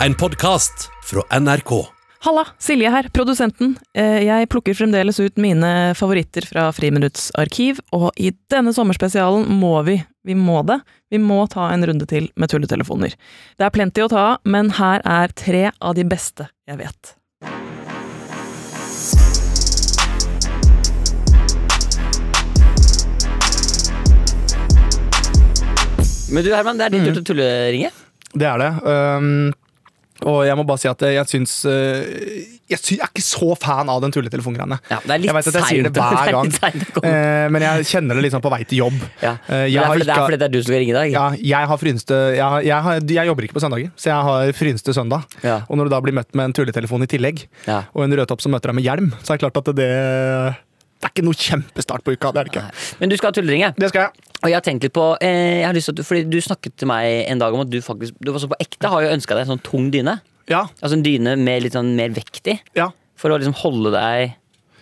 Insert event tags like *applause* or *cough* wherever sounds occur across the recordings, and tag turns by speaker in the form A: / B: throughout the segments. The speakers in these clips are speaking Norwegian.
A: En podkast fra NRK.
B: Halla, Silje her, produsenten. Eh, Jeg plukker fremdeles ut mine favoritter fra Friminutts arkiv, og i denne sommerspesialen må vi, vi må det, vi må ta en runde til med tulletelefoner. Det er plenty å ta av, men her er tre av de beste jeg vet.
C: Men du Herman, det er din
D: Mm.
C: tur til å tulleringe.
D: Det er det. Øhm, og jeg må bare si at jeg syns øh, Jeg sy- jeg er ikke så fan av den tulletelefongreiene.
C: Ja, *laughs* det er litt
D: Jeg vet at jeg sier det
C: seint å-
D: hver
C: er
D: gang.
C: litt seint å komme.
D: Eh, men jeg kjenner det liksom på vei til jobb.
C: Ja. Men
D: Eh, jeg
C: det, er
D: har
C: fordi, det er
D: ikke-
C: fordi det er du som skal ringe i dag.
D: Ja, jeg har frynste jeg, har, jeg, har, jeg jobber ikke på søndager, så jeg har frynste søndag.
C: Ja.
D: Og når du da blir møtt med en tulletelefon i tillegg,
C: Ja.
D: og en rødtopp som møter deg med hjelm, så er det klart at det Det er ikke noe kjempestart på uka. Det er det ikke.
C: Men du skal ha tulleringe.
D: Det skal jeg.
C: Og jeg har tenkt litt på eh, jeg har lyst til at du, Fordi du snakket til meg en dag om at du faktisk Du var så på ekte har jo ønska deg en sånn tung dyne.
D: Ja.
C: Altså en dyne med litt sånn mer vekt i.
D: ja.
C: For å liksom holde deg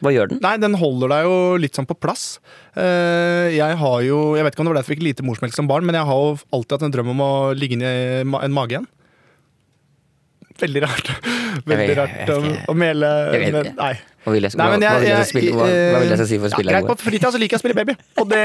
C: Hva gjør den?
D: Nei, den holder deg jo litt sånn på plass. Eh, Jeg har jo Jeg vet ikke om det var derfor jeg fikk lite morsmelk som barn, men jeg har jo alltid hatt en drøm om å ligge inni ma- en mage igjen. Veldig rart. Veldig
C: vet-
D: rart
C: jeg vet
D: å,
C: ikke.
D: å mele
C: Jeg vet ikke.
D: Nei.
C: Hva vil jeg,
D: Nei,
C: hva,
D: men jeg,
C: hva vil jeg,
D: jeg, eh,
C: skal spille, hva, hva vil jeg skal si for å
D: ja,
C: spille?
D: greit, På fritida så liker jeg å spille baby, og det,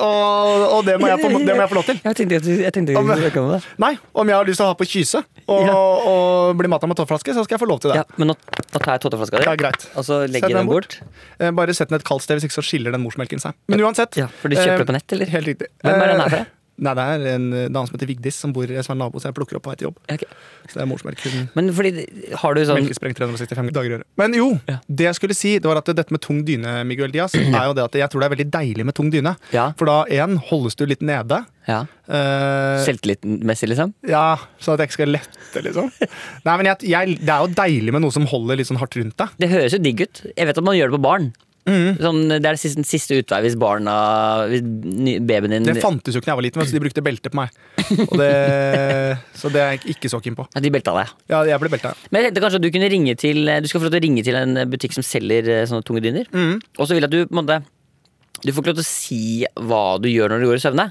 D: og, og det, må, jeg få, det må jeg få lov til.
C: jeg tenkte, jeg tenkte
D: Om-
C: jeg skulle det.
D: Nei, om jeg har lyst til å ha på kyse og,
C: *laughs* Ja.
D: og bli mata med tåflaske, så skal jeg få lov til det.
C: Ja, men nå, nå tar jeg tåteflaska
D: Det er
C: di,
D: greit.
C: og så
D: Sett
C: legger jeg
D: den
C: den bort.
D: Eh, Bare sett den et kaldt sted, hvis ikke så skiller den morsmelken seg. Men uansett.
C: Ja, for du kjøper
D: eh,
C: det på nett, eller?
D: Helt riktig.
C: Hvem er den her
D: Eh,
C: fra?
D: Nei, Det er en eh, dame som heter Vigdis, som bor som er nabo, så jeg plukker opp på vei til jobb.
C: Ja, ok.
D: Så det er morsmelk. Hun
C: Men fordi Har du sånn
D: melkesprengt 365 dager i året. Men jo,
C: Ja.
D: det jeg skulle si, det var at dette med tung dyne,
C: *clears throat*
D: Miguel Diaz, er jo det at jeg tror det er veldig deilig med tung dyne.
C: Ja.
D: For da, én, holdes du litt nede.
C: ja,
D: Eh,
C: Selvtillitmessig, liksom?
D: ja, sånn at jeg ikke skal lette, liksom.
C: *laughs*
D: Nei, men jeg, jeg, Det er jo deilig med noe som holder litt sånn hardt rundt deg.
C: Det høres jo digg ut. Jeg vet at man gjør det på barn.
D: Mm.
C: Sånn, det er den siste, siste utvei hvis barna hvis ny- babyen din
D: Det fantes jo ikke da jeg var liten, men så de brukte belte på meg. Og det,
C: *laughs*
D: så det er jeg ikke så keen på.
C: ja, De belta deg.
D: Ja, jeg ble belta.
C: Men jeg tenkte kanskje at du kunne ringe til Du skal få lov til å ringe til en butikk som selger eh, sånne tunge dyner.
D: Mm.
C: Og så vil jeg at du på en måte Du får ikke lov til å si hva du gjør når du går i søvne.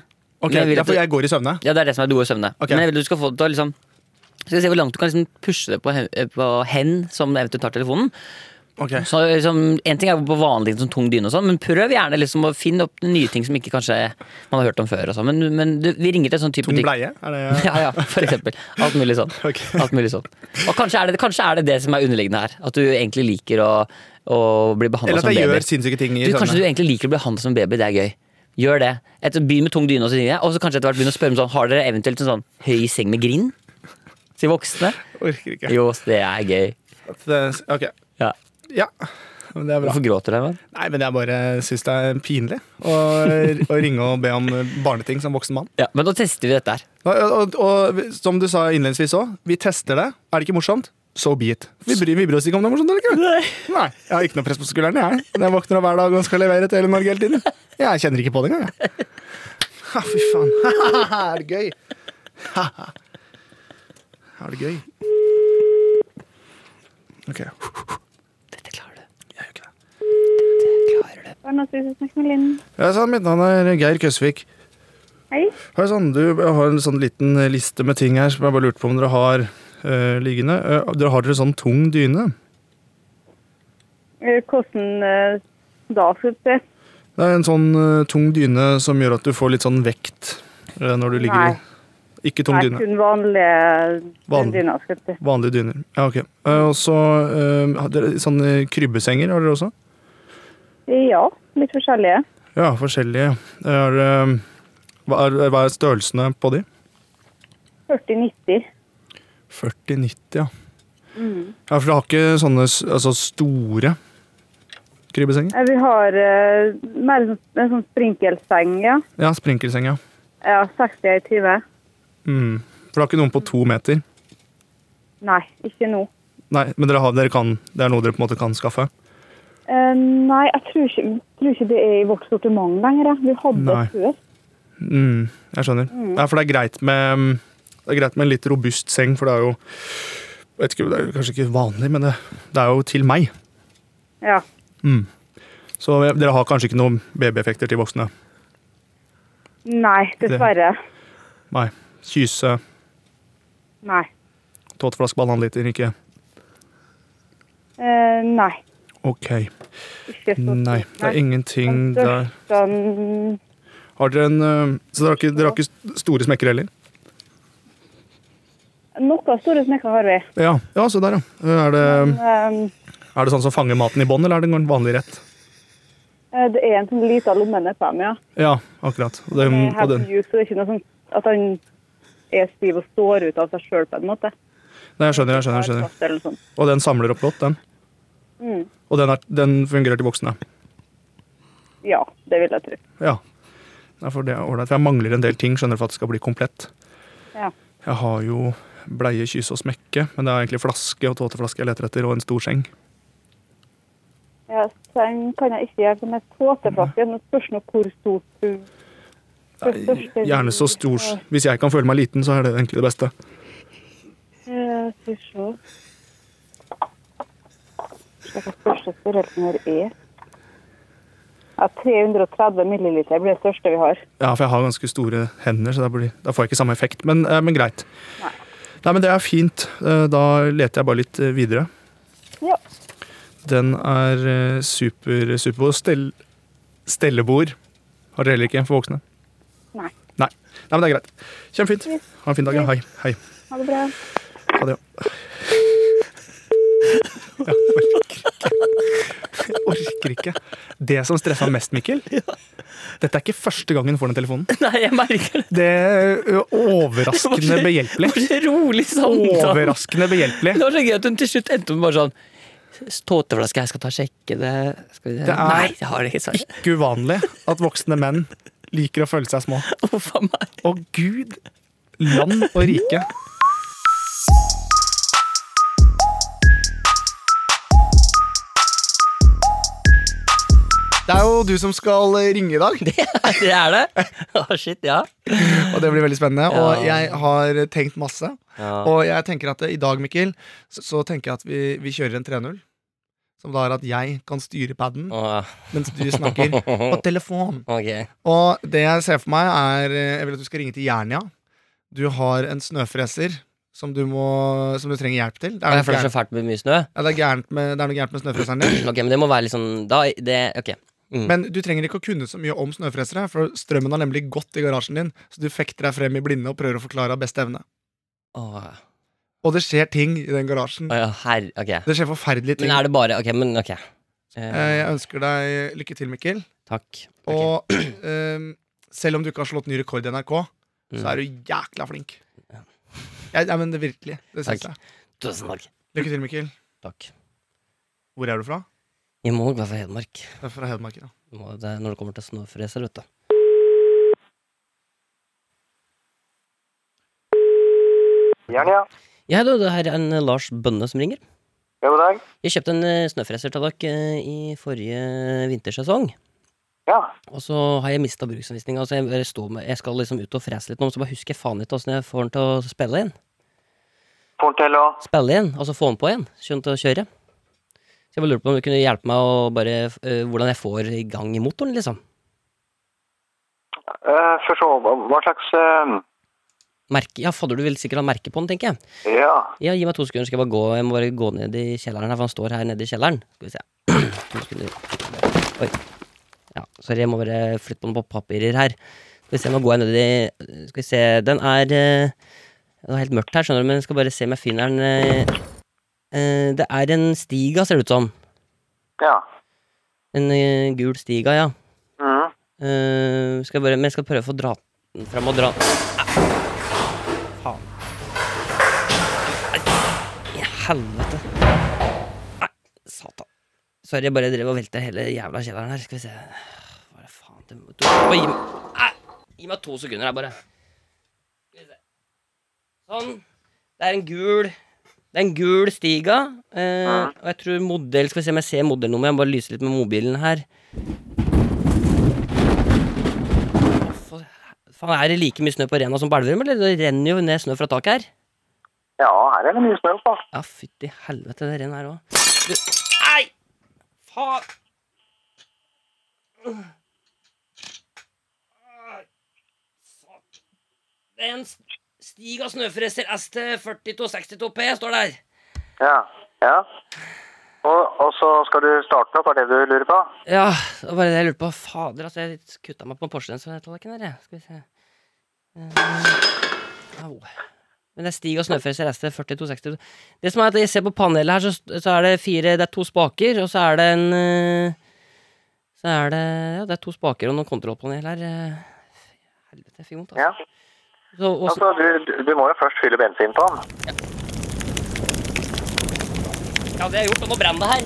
D: Ok,
C: Men jeg vil at
D: derfor
C: du-
D: jeg går i søvne.
C: Ja, det er det som er du går i søvne.
D: Ok.
C: Men jeg vil at du skal få det til å liksom Skal vi se hvor langt du kan liksom pushe det på hen, på hen som eventuelt tar telefonen.
D: Ok.
C: Så liksom, En ting er på vanlig sånn tung dyne, og sånn, men prøv gjerne liksom å finne opp nye ting som ikke kanskje man har hørt om før. Og sånn. men, men du, vi ringer til en sånn type
D: Tung
C: butikk.
D: bleie? Er det
C: Ja, *laughs* ja, for eksempel. Alt mulig sånn.
D: Ok.
C: Alt mulig sånn. Og kanskje er, det, kanskje er det det som er underliggende her. At du egentlig liker å, å bli behandla
D: Eller
C: som
D: at jeg
C: baby.
D: gjør sinnssyke ting i
C: Du, kanskje du
D: søvne.
C: egentlig liker å bli behandla som baby. Det er gøy. Gjør det. Etter Begynn med tung dyne, og så ringer jeg. Og så kanskje etter hvert begynne å spørre om sånn, har dere eventuelt en sånn høy seng med grind? Til voksne?
D: Orker ikke.
C: Jo, det er gøy.
D: Det- Ok.
C: Ja.
D: Ja. Men det er bra.
C: Hvorfor gråter du, Herman?
D: Nei, men jeg bare syns det er pinlig å, å ringe og be om barneting som voksen mann.
C: Ja, men nå tester vi dette her.
D: Og, og, og som du sa innledningsvis òg, vi tester det. Er det ikke morsomt? So be it. Vi bryr, vi bryr oss ikke om det er morsomt eller ikke. Nei, Jeg har ikke noe press på skuldrene, jeg. Når jeg våkner opp hver dag og skal levere til hele Norge hele tiden. Jeg kjenner ikke på det engang, jeg. Ha, fy faen. *laughs* er det gøy? er det gøy? Ok.
C: Dette klarer du.
D: Jeg gjør ikke det.
C: Dette klarer du.
E: Barnas hus, snakk med Linn.
D: Hei sann, sånn, mitt navn er Geir Køsvik.
E: Hei.
D: Hei sann, du jeg har en sånn liten liste med ting her som jeg bare lurte på om dere har eh, liggende. Eh, dere har dere sånn tung dyne?
E: Eh, Hvordan eh, da, skal du se?
D: Det er en sånn eh, tung dyne som gjør at du får litt sånn vekt eh, når du ligger
E: Nei.
D: i. Ikke tung
E: Nei,
D: dyne.
E: kun vanlige
D: Vanlig.
E: dyner, skal du se.
D: Vanlige dyner. Ja, ok. Eh, og så eh, har dere sånne krybbesenger har dere også?
E: Eh, Ja, litt forskjellige.
D: Ja, forskjellige. Er, det- hva, er, hva er størrelsene på de?
E: 40-90.
D: 40-90, ja. Ja, For dere har ikke sånne s- altså, store krybbesenger?
E: Eh, Vi har eh, mer en, en sånn sprinkelseng, ja.
D: Ja, sprinkelseng, ja.
E: Ja, 60 i 20.
D: Mm. For det er ikke noen på to meter?
E: Nei, ikke nå.
D: Nei, men dere har, dere kan, det er noe dere på en måte kan skaffe?
E: Eh, nei, jeg tror, ikke, tror ikke det er i vårt sortiment lenger. jeg. Vi hadde
D: Nei.
E: det før.
D: Mm, jeg skjønner. Nei, for det er greit med mm, Det er greit med en litt robust seng, for det er jo vet ikke, Det er jo kanskje ikke vanlig, men det, det er jo til meg.
E: Ja.
D: Så dere har kanskje ikke noen babyeffekter til voksne?
E: Nei, dessverre.
D: Nei. Kyse
E: Nei.
D: Tåteflaske på halvannen liter, ikke
E: Eh, nei.
D: OK.
E: Ikke så mm,
D: Nei, det er ingenting
E: Den
D: der.
E: største, den-
D: Har dere en øh, Så dere har ikke, dere har ikke store smekker heller?
E: Noen store snekker har vi.
D: Ja, ja se der, ja. Er det,
E: Um,
D: er det sånn som fanger maten i bånn, eller er det en vanlig rett?
E: eh, det er en sånn liten lomme ned på dem, ja.
D: Ja, akkurat. Og den,
E: Det er
D: Mm, og
E: helt
D: den.
E: mjuk, så det er ikke noe sånn at han er stiv og står ut av seg sjøl, på en måte.
D: Nei, jeg skjønner, jeg skjønner. jeg skjønner.
E: Plast eller noe sånt.
D: Og den samler opp godt, den.
E: Mm.
D: Og den, er, den fungerer til voksne.
E: Ja, det vil jeg tro.
D: Ja. Nei, for det er ålreit. For jeg mangler en del ting skjønner du, for at det skal bli komplett.
E: Ja.
D: Jeg har jo bleie, kyse og smekke, men det er egentlig flaske og tåteflaske jeg leter etter, og en stor seng.
E: Ja, seng kan jeg ikke gjøre med tåteflaske. Nå spørs nå hvor stort du hvor størst er
D: Gjerne så
E: du-
D: stor Hvis jeg kan føle meg liten, så er det egentlig det beste.
E: Eh, Skal vi se Skal vi se hva største størrelsen her er. Ja, 330 milliliter blir det største vi har.
D: Ja, for jeg har ganske store hender, så da, blir, da får jeg ikke samme effekt. Men, eh, men greit. Nei, men det er fint. Eh, Da leter jeg bare litt eh, videre.
E: Ja.
D: Den er eh, super, super Stell, stellebord har dere heller ikke for voksne?
E: Nei.
D: Nei. Nei, men det er greit. Kjempefint. Ha en fin dag. Ja. Hei. Hei.
E: Ha det bra.
D: Ha det. *laughs* Ja. Jeg orker ikke. Jeg orker ikke. Det som stressa mest, Mikkel Dette er ikke første gangen hun får den telefonen.
F: *laughs* Nei, jeg merker det.
D: Det er overraskende *laughs*
F: Det var
D: behjelpelig.
F: så rolig samtale.
D: Overraskende behjelpelig.
F: Det var så gøy at hun til slutt endte med bare sånn Tåteflaske, jeg skal ta og sjekke det. Skal vi
D: Det er-
F: Nei, jeg har det ikke.
D: *laughs*
F: Sorry.
D: Ikke uvanlig at voksne menn liker å føle seg små.
F: Uff a meg.
D: Å gud, land og rike.
G: Det er jo du som skal ringe i dag,
F: *laughs* Det er det? Å, shit, ja.
G: og det blir veldig spennende. Og
F: Ja.
G: jeg har tenkt masse.
F: ja.
G: Og jeg tenker at eh, i dag, Mikkel, så, så tenker jeg at vi, vi kjører en 3-0. Som da er at jeg kan styre paden mens du snakker
C: *laughs*
G: på telefon.
F: Ok.
G: Og det jeg ser for meg, er eh, Jeg vil at du skal ringe til Jernia. Du har en snøfreser som du, må, som du trenger hjelp til. Det er,
C: Jeg
G: noe
C: føler så
G: gærent,
C: fælt med mye snø. *clears throat*
G: ja, det er, gærent, med, det er noe gærent med snøfreseren din.
C: Ok, men det må være litt sånn da, det, Ok.
G: Men du trenger ikke å kunne så mye om snøfresere, for strømmen har nemlig gått i garasjen din, så du fekter deg frem i blinde og prøver å forklare av beste evne.
C: Åh,
G: Og det skjer ting i den garasjen.
C: Å ja, herre Ok.
G: Det skjer forferdelige ting.
C: Men er det bare Ok, men ok.
G: Eh,
C: Eh,
G: Jeg ønsker deg lykke til, Mikkel.
C: takk. Ok.
G: Og *clears throat* ehm, selv om du ikke har slått ny rekord i NRK, så er du jækla flink.
C: Mm. Ja.
G: Ja, ja, men det virkelig. Det syns
C: Takk.
G: jeg.
C: Tusen takk.
G: Lykke til, Mikkel.
C: Takk.
G: Hvor er du fra?
C: Jeg må nok være fra Hedmark.
G: Jeg er fra Hedmark. Ja.
C: Må, det, er når det kommer til snøfreser, vet du.
H: Gjerne, ja.
C: Ja, du, det her er en eh, Lars Bønne som ringer.
H: Ja, god dag.
C: Jeg kjøpte en eh, snøfreser til dere eh, i forrige vintersesong.
H: Ja.
C: Og så har jeg mista bruksanvisninga, så jeg, bare står med, jeg skal liksom ut og frese litt nå, men så bare husker jeg faen ikke åssen jeg får den til å spille inn.
H: Fortell og
C: spille igjen, altså få den på igjen, skjønt å kjøre. Så jeg bare lurte på om du kunne hjelpe meg å bare, øh, hvordan jeg får i gang i motoren, liksom.
H: uh, Først så, hva- hva slags eh,
C: Merke, ja, fadder, du vil sikkert ha merke på den, tenker jeg.
H: Ja.
C: Ja, gi meg to sekunder, skal jeg bare gå, jeg må bare gå ned i kjelleren her, for han står her nede i kjelleren. Skal vi se. *clears throat* To sekunder. Oi. Ja, sorry, jeg må bare flytte på noen papirer her. Skal vi se, nå går jeg ned i, skal vi se, den er, øh, det er helt mørkt her, skjønner du, men jeg skal bare se om jeg finner den. øh. Eh, Det er en stiga, ser det ut som.
H: Ja.
C: En øh, gul stiga, ja.
H: Mhm.
C: Eh, skal jeg bare, men jeg skal prøve å få dra den fram og dra Au. Faen. Nei, I helvete. Nei, satan. Sorry, jeg bare drev og velta hele jævla kjelleren her. Skal vi se Hva er det faen det må- du, Oi, gi, meg, Nei, gi meg to sekunder her, bare. Skal vi se. Sånn. Det er en gul Det er en gul Stiga. eh, og jeg tror modell Skal vi se om jeg ser modellnummeret. Jeg må bare lyse litt med mobilen her. For, faen, er det like mye snø på Rena som på Elverum, eller? Det renner jo ned snø fra taket her.
H: Ja, her er det mye snø altså. oppe. da.
C: Ja, fytti helvete, det renner her òg. Nei! Faen! Den s- Stig av snøfreser ST4262P står der.
H: Ja. ja. Og, og så skal du starte opp, er det du lurer på?
C: Ja, det var bare det jeg lurte på. Fader, altså, jeg kutta meg på porselenstallerkenen der, jeg. Skal vi se. Eh, au. Men det er Stig og Snøfreser ST4262. Det som er at jeg ser på panelet her, så, så er det fire Det er to spaker, og så er det en eh, Så er det Ja, det er to spaker og noen kontrollpanel her. eh. Helvete, jeg fikk vondt,
H: Ja.
C: altså. Så, og, så-
H: Altså, du, du- du må jo først fylle bensin på den. *laughs*
C: Ja, det har jeg gjort, og nå brenner det her.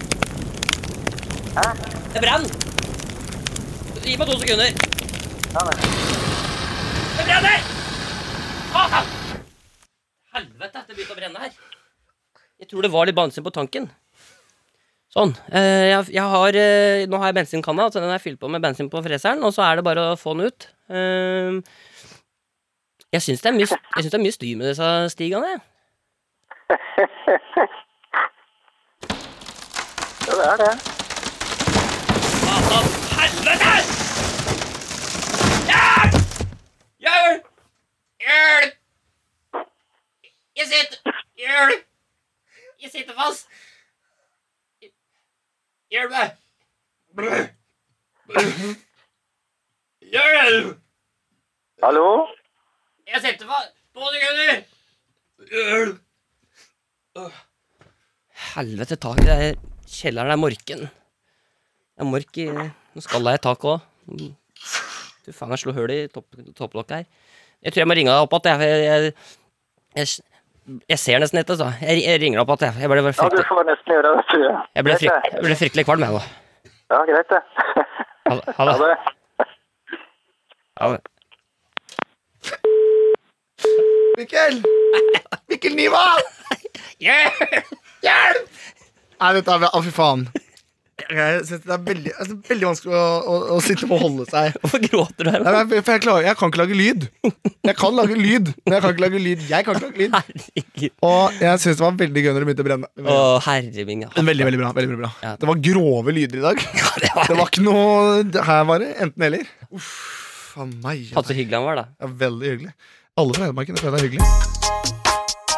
C: Hæ? Det brenner. Gi meg to sekunder.
H: Ja, det.
C: Det brenner! Faen! Helvete, det begynte å brenne her. Jeg tror det var litt bensin på tanken. Sånn. eh, Jeg, jeg har, eh, nå har jeg bensinkanna, så den er fylt på med bensin på freseren, og så er det bare å få den ut. Eh, Jeg syns det er mye, jeg synes det er mye styr med disse stigene. jeg.
H: Ja, det er det.
C: Satan! Helvete! Hjelp! Hjelp! Hjelp! Jeg sitter Hjelp! Jeg sitter fast. Hjelp meg! Hjelp!
H: Hallo?
C: Jeg sitter fast. To sekunder. Hjelp! Helvete, taket det er Kjelleren er morken. Det er mork i Nå skalla jeg taket òg. Du faen, jeg slo hull i topp, topplokket her. Jeg tror jeg må ringe deg opp igjen. Jeg, jeg, jeg, jeg, jeg ser nesten etter, så. Jeg, jeg ringer deg opp igjen. Jeg ble, bare
H: Ja, du
C: fryktelig,
H: får nesten gjøre det, tror jeg.
C: jeg ble,
H: Greit,
C: frykt, jeg ble fryktelig kvalm, jeg nå.
H: det. Ja, greit det. *laughs*
C: Ha det- ha
H: Ha
C: det.
H: det.
C: Ha det.
D: Mikkel! Mikkel Niva! Hjelp! Nei, dette er Å, fy faen. Jeg synes det er veldig, altså, veldig vanskelig å, å, å sitte og holde seg.
C: Hvorfor gråter du her?
D: Nei, men, for jeg, klarer, jeg kan ikke lage lyd. Jeg kan lage lyd, men jeg kan ikke lage lyd. Jeg kan ikke lage lyd.
C: Herregud.
D: Og jeg syns det var veldig gøy når det begynte å brenne.
C: Å, herre min.
D: Men Veldig, veldig bra. veldig, veldig bra
C: Ja.
D: Det var grove lyder i dag.
C: Det var
D: Det var ikke noe det Her var det enten-eller. Uff a meg.
C: Faen, så hyggelig han var, da.
D: Det er veldig hyggelig. Alle fra Hedmarken jeg føler det er hyggelig.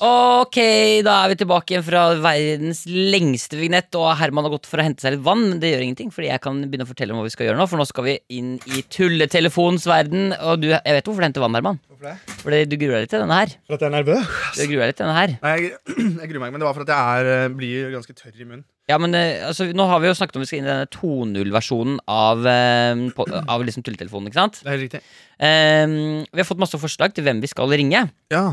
C: Ok, da er vi tilbake igjen fra verdens lengste vignett. Og Herman har gått for å hente seg litt vann, men det gjør ingenting. Fordi jeg kan begynne å fortelle om hva vi skal gjøre nå, for nå skal vi inn i tulletelefonens verden. Og du, jeg vet hvorfor du henter vann, Herman.
D: Hvorfor det?
C: Fordi du gruer deg litt til denne her.
D: For at jeg er nervøs?
C: Du gruer deg litt til denne her
D: Nei, jeg, *clears throat* jeg gruer meg, men det var for at jeg er, eh, blir ganske tørr i munnen.
C: Ja, men eh, altså, Nå har vi jo snakket om vi skal inn i denne 2.0-versjonen av, eh, på- av liksom tulletelefonen. ikke sant?
D: Det er helt riktig.
C: Eh, vi har fått masse forslag til hvem vi skal ringe.
D: Ja.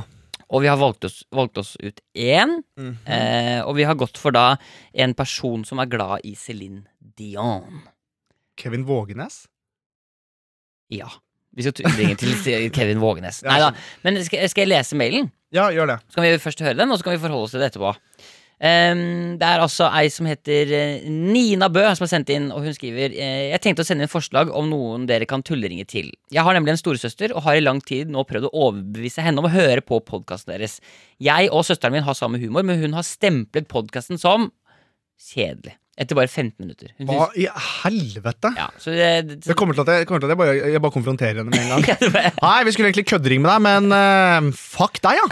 C: Og vi har valgt oss, valgt oss ut én. eh, og vi har gått for da en person som er glad i Céline Dion.
D: Kevin Vågenes?
C: Ja. Vi skal tu- ringe til Kevin Vågenes.
D: Ja,
C: Nei da. Men skal, skal jeg lese mailen?
D: Ja, gjør det.
C: Så kan vi først høre den, og så kan vi forholde oss til det etterpå. Ehm, det er altså ei som heter eh, Nina Bø, som har sendt inn, og hun skriver eh, Jeg tenkte å sende inn forslag om noen dere kan tulleringe til. Jeg har nemlig en storesøster, og har i lang tid nå prøvd å overbevise henne om å høre på podkasten deres. Jeg og søsteren min har samme humor, men hun har stemplet podkasten som kjedelig. Etter bare 15 minutter. Hun
D: Hva
C: synes-
D: i helvete?
C: Ja, så det,
D: Det kommer til at jeg, kommer til at jeg, bare, jeg bare konfronterer henne med *laughs* en gang.
C: Ja, det var-
D: Nei, vi skulle egentlig kødderinge med deg, men eh, fuck deg, *laughs*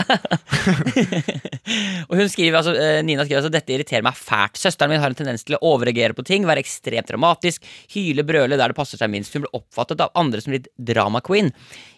D: ja!
C: Og hun skriver, altså, eh, Nina skriver altså, dette irriterer meg fælt. Søsteren min har en tendens til å overreagere på ting, være ekstremt dramatisk, hyle, brøle der det passer seg minst. Hun ble oppfattet av andre som litt drama queen.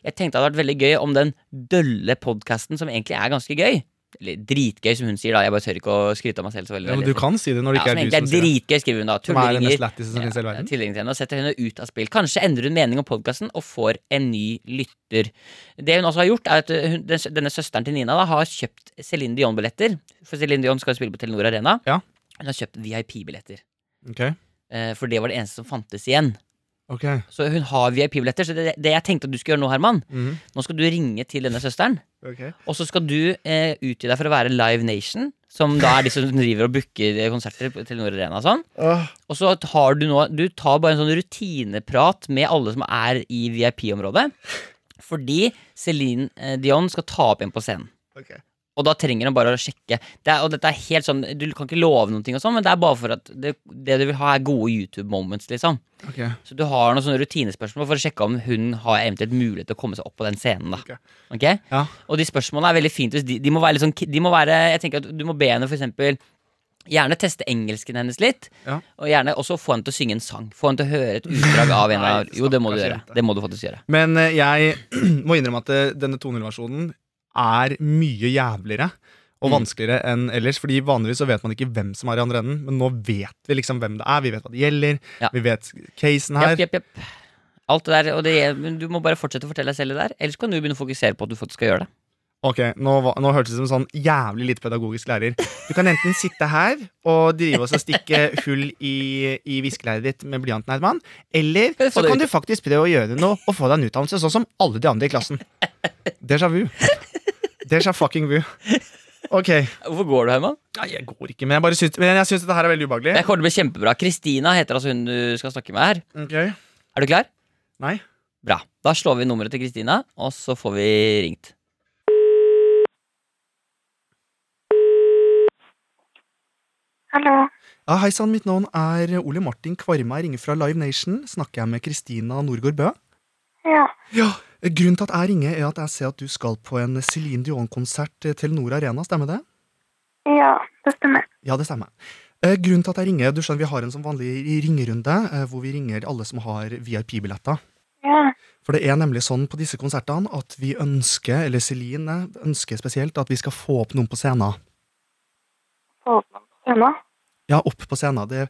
C: Jeg tenkte det hadde vært veldig gøy om den dølle podkasten, som egentlig er ganske gøy Eller dritgøy, som hun sier, da. Jeg bare tør ikke å skryte av meg selv så veldig.
D: Ja, men Du kan si det når
C: Ja,
D: det ikke
C: som
D: er du
C: egentlig
D: som
C: er
D: sier det.
C: dritgøy, skriver hun da.
D: Som er det mest
C: Tulleringer.
D: lættis som finnes i hele verden.
C: Tillegg til henne og setter henne ut av spill. Kanskje endrer hun mening om podkasten og får en ny lytter. Det hun også har gjort, er at hun, den, denne søsteren til Nina da, har kjøpt Céline Dion-billetter. For Céline Dion skal jo spille på Telenor Arena.
D: Ja.
C: Hun har kjøpt VIP-billetter.
D: Ok,
C: eh, For det var det eneste som fantes igjen.
D: ok
C: Så hun har VIP-billetter. Så det, det jeg tenkte at du skulle gjøre nå, Herman
D: Mhm.
C: Nå skal du ringe til denne søsteren,
D: Ok.
C: og så skal du eh, utgi deg for å være Live Nation. Som da er de som driver og booker eh, konserter på Telenor Arena og sånn.
D: Åh,
C: Og så tar du nå Du tar bare en sånn rutineprat med alle som er i VIP-området. Fordi Céline eh, Dion skal ta opp en på scenen.
D: ok.
C: Og da trenger han bare å sjekke. Det er, og dette er helt sånn, Du kan ikke love noen ting, og sånn, men det er bare for at det, det du vil ha, er gode YouTube-moments. liksom
D: Ok.
C: Så du har noen sånne rutinespørsmål for å sjekke om hun har eventuelt mulighet til å komme seg opp på den scenen. da Ok?
D: Ja.
C: Og de spørsmålene er veldig fint hvis de, de må være litt sånn ki- de må være, Jeg tenker at du må be henne for eksempel Gjerne teste engelsken hennes litt
D: Ja.
C: Og gjerne også få henne til å synge en sang Få henne til å høre et utdrag av
D: *laughs*
C: en av Jo, det må du
D: stakkars
C: gjøre
D: jente.
C: Det må du faktisk gjøre
D: Men eh, jeg *clears throat* må innrømme at eh, denne toneversjonen er mye jævligere og
C: Mm.
D: vanskeligere enn ellers. Fordi vanligvis så vet man ikke hvem som er i andre enden, men nå vet vi liksom hvem det er. Vi vet hva det gjelder,
C: Ja.
D: vi vet casen
C: Japp,
D: her.
C: japp, japp Alt det der, og det, men du må bare fortsette å fortelle deg selv det der Ellers kan du begynne å fokusere på at du faktisk skal gjøre det
D: Ok, nå, var- nå hørtes det ut som en sånn jævlig lite pedagogisk lærer. Du kan enten sitte her og drive oss og stikke hull i, i viskelæret ditt med blyanten, Herman, eller
C: Kan du få
D: så
C: det
D: kan
C: ut?
D: du faktisk prøve å gjøre noe og få deg en utdannelse, sånn som alle de andre i klassen. Déjà vu. Déjà fucking vu. Ok.
C: Hvorfor går du, Herman?
D: Nei, jeg går ikke, men jeg bare syns, men jeg syns dette her er veldig ubehagelig.
C: Jeg kommer til å bli kjempebra Kristina heter altså hun du skal snakke med her
D: Ok.
C: Er du klar?
D: Nei.
C: Bra, da slår vi nummeret til Kristina Og så får vi ringt
I: Hallo.
D: Ja, Hei sann, mitt navn er Ole Martin Kvarme. Jeg ringer fra Live Nation. Snakker jeg med Kristina Norgård Bø?
I: Ja.
D: Ja, Grunnen til at jeg ringer, er at jeg ser at du skal på en Céline Dion-konsert eh, Telenor Arena. Stemmer det?
I: Ja, det stemmer.
D: Ja, det stemmer. Eh, Grunnen til at jeg ringer, du skjønner Vi har en sånn vanlig ringerunde eh, hvor vi ringer alle som har VIP-billetter.
I: Ja.
D: For det er nemlig sånn på disse konsertene at vi ønsker, eller Celine eh, ønsker spesielt, at vi skal få opp noen på scenen.
I: Få opp noen på scenen.
D: Ja, opp på scenen. Det er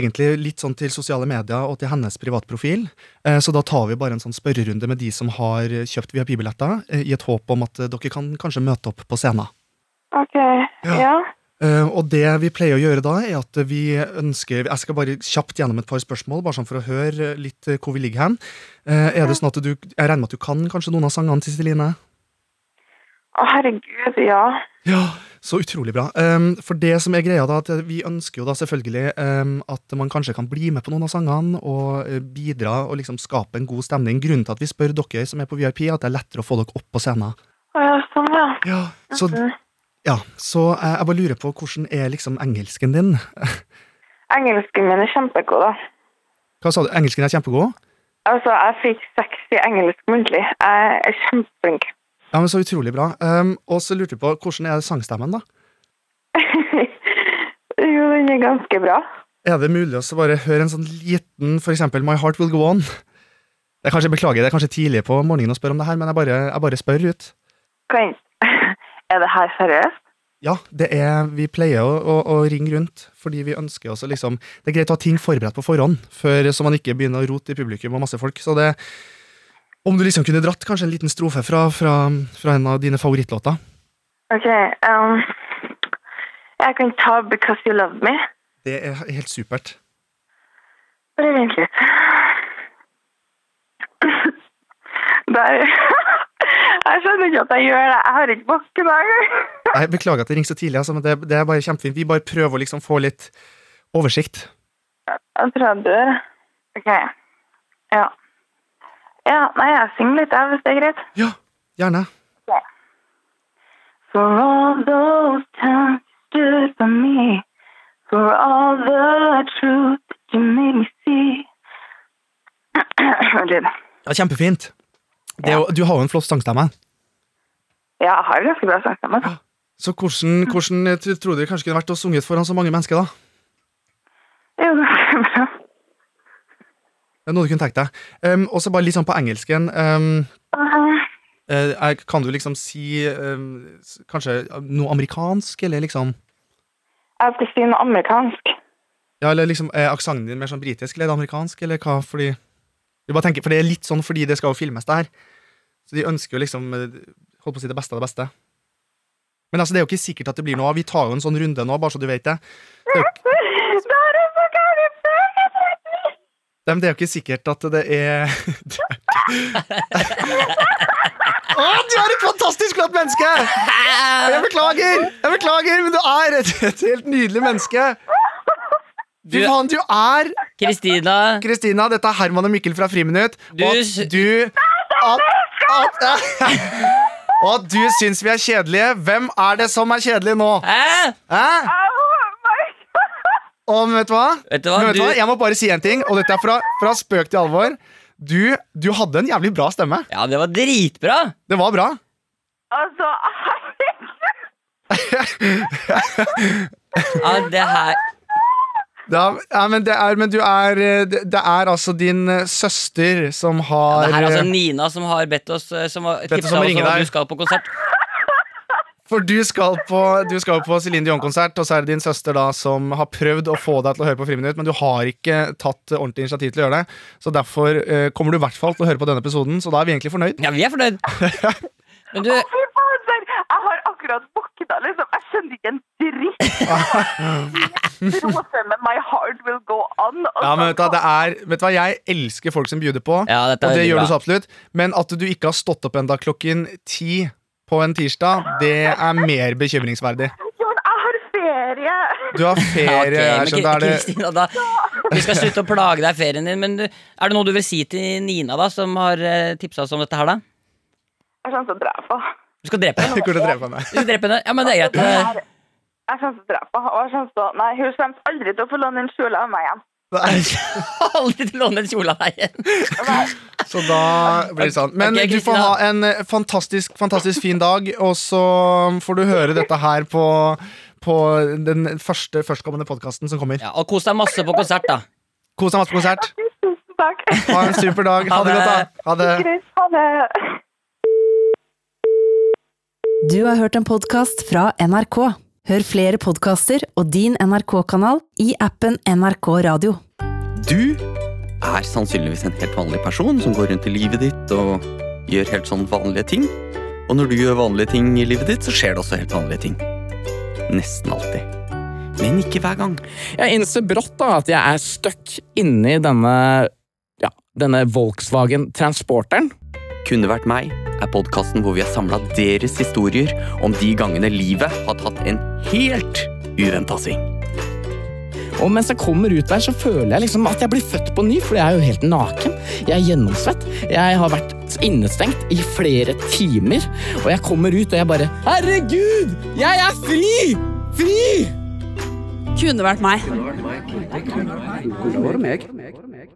D: egentlig litt sånn til sosiale medier og til hennes privatprofil. Eh, Så da tar vi bare en sånn spørrerunde med de som har eh, kjøpt VIP-billetter, eh, i et håp om at eh, dere kan kanskje møte opp på scenen.
I: Ok.
D: Ja.
I: Ja.
D: Eh, Og det vi pleier å gjøre da, er at vi ønsker Jeg skal bare kjapt gjennom et par spørsmål, bare sånn for å høre eh, litt eh, hvor vi ligger hen. Eh, Er det sånn at du Jeg regner med at du kan kanskje noen av sangene til Celine?
I: Å, herregud, ja.
D: Ja, så utrolig bra. Ehm, for det som er greia da, at vi ønsker jo da selvfølgelig ehm, at man kanskje kan bli med på noen av sangene og eh, bidra og liksom skape en god stemning. Grunnen til at vi spør dere som er på VIP, er at det er lettere å få dere opp på scenen.
I: Å, ja, sånn, ja.
D: Ja, så, ja, så eh, jeg bare lurer på hvordan er liksom engelsken din? *laughs*
I: Engelsken min er kjempegod, da.
D: Hva sa du? Engelsken er kjempegod?
I: Altså, jeg fikk seks i engelsk muntlig. Jeg er kjempeflink. *laughs*
D: Ja, men så utrolig bra. Ehm, og så lurte jeg på, hvordan er sangstemmen da?
I: jo, den er ganske bra.
D: Er det mulig å så bare høre en sånn liten, for eksempel My Heart Will Go On? Det er kanskje, beklager, det er kanskje tidlig på morgenen å spørre om det her, men jeg bare, jeg bare spør ut.
I: Kan... Er det her seriøst?
D: Ja, det er, vi pleier å, å, å ringe rundt, fordi vi ønsker oss å liksom Det er greit å ha ting forberedt på forhånd, før, så man ikke begynner å rote i publikum og masse folk. Så det Om du liksom kunne dratt kanskje en liten strofe fra, fra, fra en av dine favorittlåter?
I: Ok, um, jeg kan ta Because You Love Me.
D: Det er helt supert.
I: Bare vent litt. *laughs* Der. *laughs* Jeg skjønner ikke at jeg gjør det. Jeg har ikke bakke der.
D: Nei, beklager at det ringer så tidlig, altså, men det, det er bare kjempefint. Vi bare prøver å liksom få litt oversikt.
I: Jeg tror jeg dør. Ok. Ja. Ja, nei, jeg synger litt, jeg, hvis det er greit.
D: Ja, gjerne.
I: For all those times you stood by me, for all the truth that you made me see. Unnskyld.
D: Ja, kjempefint. Det, er jo- Du har jo en flott sangstemme.
I: Ja, jeg har ganske bra sangstemme. da.
D: Så hvordan, hvordan eh, tro- tror dere kanskje kunne vært å sunget foran så mange mennesker, da?
I: Det er jo ganske bra.
D: Det er noe du kunne tenkt deg. Um, og så bare litt sånn på engelsken. Um, eh, er- kan du liksom si um, s- kanskje noe amerikansk, eller liksom
I: Jeg skal si noe amerikansk.
D: Ja, eller liksom er aksenten din mer sånn britisk eller er det amerikansk, eller hva? Fordi Vi bare tenker, For det er litt sånn fordi det skal jo filmes, det her. Så de ønsker jo liksom eh, Holdt på å si det beste av det beste. Men altså, det er jo ikke sikkert at det blir noe av. Vi tar jo en sånn runde nå, bare så du vet det. det er jo,
I: Det er jo så gærent!
D: Nei, men det er jo ikke sikkert at det er Det er ikke- Å, du er et fantastisk flott menneske! Jeg beklager, jeg beklager, men du er et, et helt nydelig menneske. Du,
C: Du-
D: faen, du er
C: Kristina
D: Kristina, dette er Herman og Mikkel fra Friminutt.
C: Du
D: og
C: s-
D: at *laughs* du at, at, Og at du syns vi er kjedelige. Hvem er det som er kjedelig nå?
C: Hæ?
D: Hæ? Og men vet du hva?
C: Vet du hva,
D: Men vet du
C: du-
D: hva? Jeg må bare si en ting, og dette er fra, fra spøk til alvor. Du, du hadde en jævlig bra stemme.
C: Ja, det var dritbra!
D: Det var bra.
I: Altså, *laughs*
C: Ja, det her
D: Det er, ja, men det er, men du er eh, Det, det er altså din eh, søster som har
C: Det her er altså
D: eh,
C: Nina som har bedt oss eh, Som har
D: oss
C: tipsa
D: om å
C: oss
D: ringe
C: om at
D: deg.
C: du skal på konsert.
D: For du skal på, du skal på Celine Dion-konsert, og så er det din søster da som har prøvd å få deg til å høre på Friminutt, men du har ikke tatt eh, ordentlig initiativ til å gjøre det. Så derfor eh, kommer du i hvert fall til å høre på denne episoden, så da er vi egentlig fornøyd.
C: Ja, vi er
D: *laughs*
C: fornøyd. Men du,
I: fy fader! Jeg har akkurat våkna, liksom. Jeg skjønner ikke en dritt. Rose med My Heart Will Go On. og
D: Ja, men
I: så-
D: vet du, hva, det er, vet du hva, Jeg elsker folk som bjuder på,
C: Ja, dette er
D: og det
C: veldig
D: gjør
C: bra.
D: du så absolutt. Men at du ikke har stått opp enda klokken ti på en tirsdag, det er mer bekymringsverdig.
I: Ja, men jeg har ferie!
D: Du har
C: *laughs* ja, ok,
D: ferie. jeg
C: men
D: skjønner, da er det, *laughs*
C: Kristina, da Vi skal slutte å plage deg i ferien din, men du, er det noe du vil si til Nina, da, som har tipsa oss om dette her, da?
I: Jeg kommer til å drepe henne.
C: Du skal drepe henne?
D: Hvor det dreper meg.
C: *laughs* Du skal drepe henne? Ja, men det er greit. eh,
I: Jeg kommer til å drepe henne. Og jeg kommer til å Nei, hun kommer aldri til å få låne en kjole av meg igjen.
C: Aldri til å låne en kjole av deg igjen.
D: Så da blir det sånn. Men
C: Ok,
D: du får
C: Kristina.
D: ha en eh, fantastisk, fantastisk fin dag, og så får du høre dette her på, på den første førstkommende podkasten som kommer.
C: Ja, og kos deg masse på konsert, da.
D: Kos deg masse på konsert.
I: Tusen takk.
D: Ha en super dag. Ha det
C: Ha
D: godt,
C: det.
D: da. Ha det.
I: Greit, ha det.
J: Du har hørt en podkast fra NRK. Hør flere podkaster og din NRK-kanal i appen NRK Radio.
A: Du er sannsynligvis en helt vanlig person som går rundt i livet ditt og gjør helt sånn vanlige ting. Og når du gjør vanlige ting i livet ditt, så skjer det også helt vanlige ting. Nesten alltid. Men ikke hver gang.
K: Jeg innser brått da at jeg er stuck inni denne, ja, denne Volkswagen Transporteren.
A: Kunne vært meg er podkasten hvor vi har samla deres historier om de gangene livet har tatt en helt uventa sving.
K: Og mens jeg kommer ut der, så føler jeg liksom at jeg blir født på ny, for jeg er jo helt naken. Jeg er gjennomsvett. Jeg har vært innestengt i flere timer, og jeg kommer ut og jeg bare Herregud, jeg er fri! Fri!
L: Kunne vært meg.